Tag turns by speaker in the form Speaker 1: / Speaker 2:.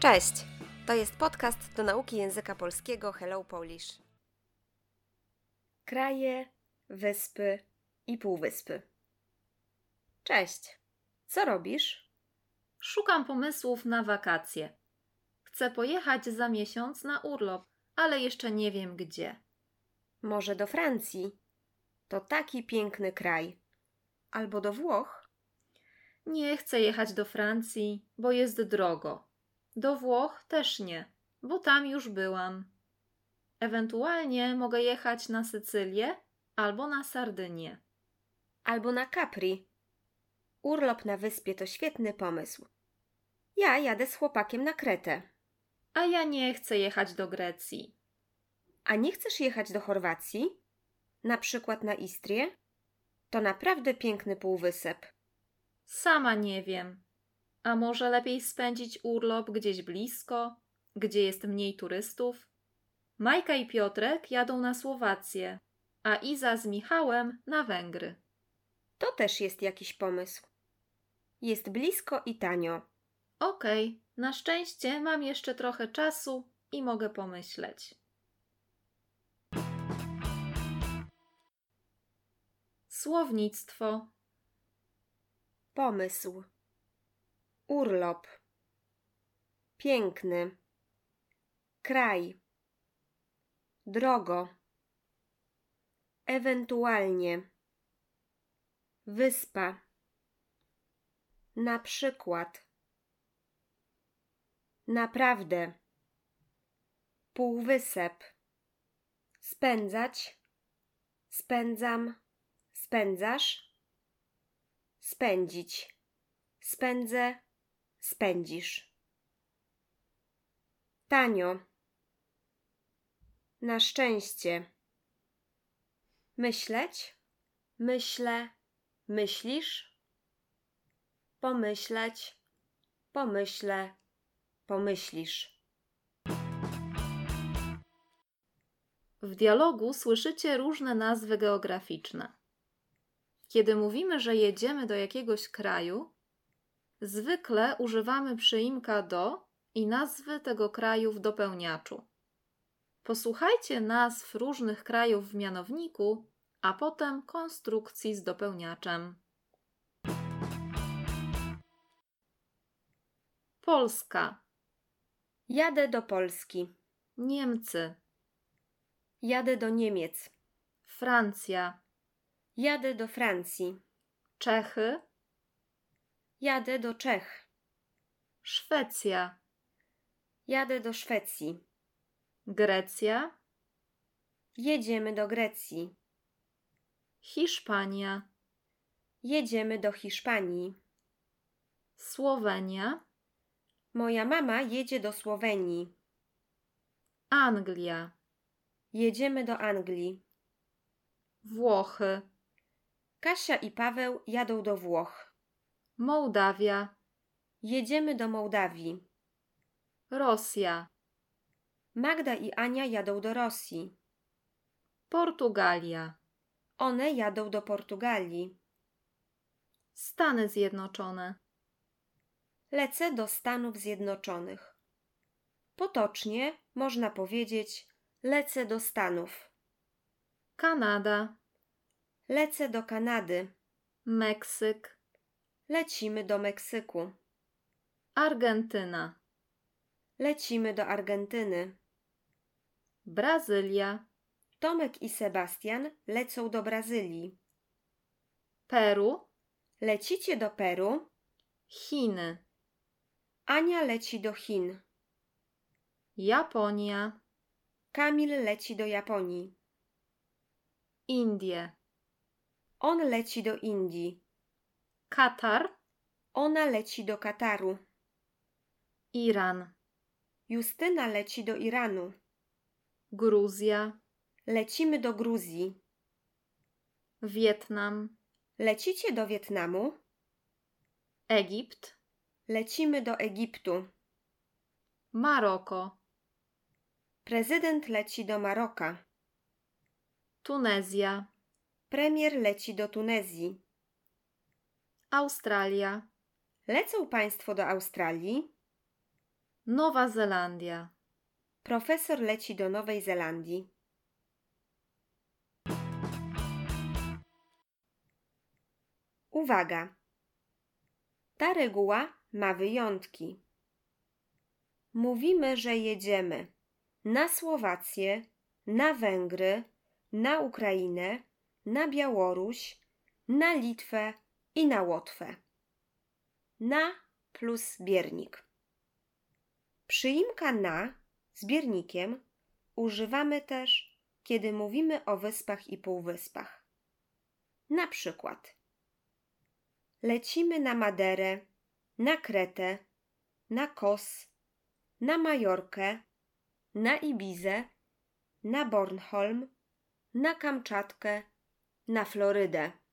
Speaker 1: Cześć! To jest podcast do nauki języka polskiego Hello Polish. Kraje, wyspy i półwyspy. Cześć! Co robisz?
Speaker 2: Szukam pomysłów na wakacje. Chcę pojechać za miesiąc na urlop, ale jeszcze nie wiem gdzie.
Speaker 1: Może do Francji? To taki piękny kraj. Albo do Włoch?
Speaker 2: Nie chcę jechać do Francji, bo jest drogo. Do Włoch też nie, bo tam już byłam. Ewentualnie mogę jechać na Sycylię albo na Sardynię.
Speaker 1: Albo na Capri? Urlop na wyspie to świetny pomysł. Ja jadę z chłopakiem na Kretę.
Speaker 2: A ja nie chcę jechać do Grecji.
Speaker 1: A nie chcesz jechać do Chorwacji? Na przykład na Istrię? To naprawdę piękny półwysep.
Speaker 2: Sama nie wiem. A może lepiej spędzić urlop gdzieś blisko, gdzie jest mniej turystów? Majka i Piotrek jadą na Słowację, a Iza z Michałem na Węgry.
Speaker 1: To też jest jakiś pomysł. Jest blisko i tanio.
Speaker 2: Okej, na szczęście mam jeszcze trochę czasu i mogę pomyśleć. Słownictwo
Speaker 1: Pomysł. Urlop. Piękny. Kraj. Drogo. Ewentualnie. Wyspa. Na przykład. Naprawdę. Półwysep. Spędzać. Spędzam. Spędzasz spędzić. Spędzę, spędzisz. Tanio. Na szczęście. Myśleć, myślę, myślisz. Pomyśleć, pomyślę, pomyślisz.
Speaker 2: W dialogu słyszycie różne nazwy geograficzne. Kiedy mówimy, że jedziemy do jakiegoś kraju, zwykle używamy przyimka do i nazwy tego kraju w dopełniaczu. Posłuchajcie nazw różnych krajów w mianowniku, a potem konstrukcji z dopełniaczem. Polska,
Speaker 1: Jadę do Polski.
Speaker 2: Niemcy,
Speaker 1: Jadę do Niemiec.
Speaker 2: Francja,
Speaker 1: Jadę do Francji.
Speaker 2: Czechy,
Speaker 1: Jadę do Czech.
Speaker 2: Szwecja,
Speaker 1: Jadę do Szwecji.
Speaker 2: Grecja,
Speaker 1: Jedziemy do Grecji.
Speaker 2: Hiszpania,
Speaker 1: Jedziemy do Hiszpanii.
Speaker 2: Słowenia,
Speaker 1: Moja mama jedzie do Słowenii.
Speaker 2: Anglia,
Speaker 1: Jedziemy do Anglii.
Speaker 2: Włochy,
Speaker 1: Kasia i Paweł jadą do Włoch.
Speaker 2: Mołdawia,
Speaker 1: Jedziemy do Mołdawii.
Speaker 2: Rosja,
Speaker 1: Magda i Ania jadą do Rosji.
Speaker 2: Portugalia,
Speaker 1: One jadą do Portugalii.
Speaker 2: Stany Zjednoczone,
Speaker 1: Lecę do Stanów Zjednoczonych. Potocznie można powiedzieć: lecę do Stanów.
Speaker 2: Kanada,
Speaker 1: Lecę do Kanady.
Speaker 2: Meksyk,
Speaker 1: Lecimy do Meksyku.
Speaker 2: Argentyna,
Speaker 1: Lecimy do Argentyny.
Speaker 2: Brazylia,
Speaker 1: Tomek i Sebastian lecą do Brazylii.
Speaker 2: Peru,
Speaker 1: Lecicie do Peru,
Speaker 2: Chiny,
Speaker 1: Ania leci do Chin,
Speaker 2: Japonia,
Speaker 1: Kamil leci do Japonii,
Speaker 2: Indie,
Speaker 1: on leci do Indii,
Speaker 2: Katar,
Speaker 1: ona leci do Kataru,
Speaker 2: Iran,
Speaker 1: Justyna leci do Iranu,
Speaker 2: Gruzja,
Speaker 1: lecimy do Gruzji.
Speaker 2: Wietnam,
Speaker 1: Lecicie do Wietnamu,
Speaker 2: Egipt,
Speaker 1: lecimy do Egiptu.
Speaker 2: Maroko,
Speaker 1: Prezydent leci do Maroka,
Speaker 2: Tunezja,
Speaker 1: premier leci do Tunezji.
Speaker 2: Australia,
Speaker 1: Lecą państwo do Australii,
Speaker 2: Nowa Zelandia.
Speaker 1: Profesor leci do Nowej Zelandii. Uwaga! Ta reguła ma wyjątki. Mówimy, że jedziemy na Słowację, na Węgry, na Ukrainę, na Białoruś, na Litwę i na Łotwę. Na plus biernik. Przyimka na z biernikiem używamy też, kiedy mówimy o wyspach i półwyspach. Na przykład lecimy na Maderę, na Kretę, na Kos, na Majorkę, na Ibizę, na Bornholm, na Kamczatkę, na Florydę.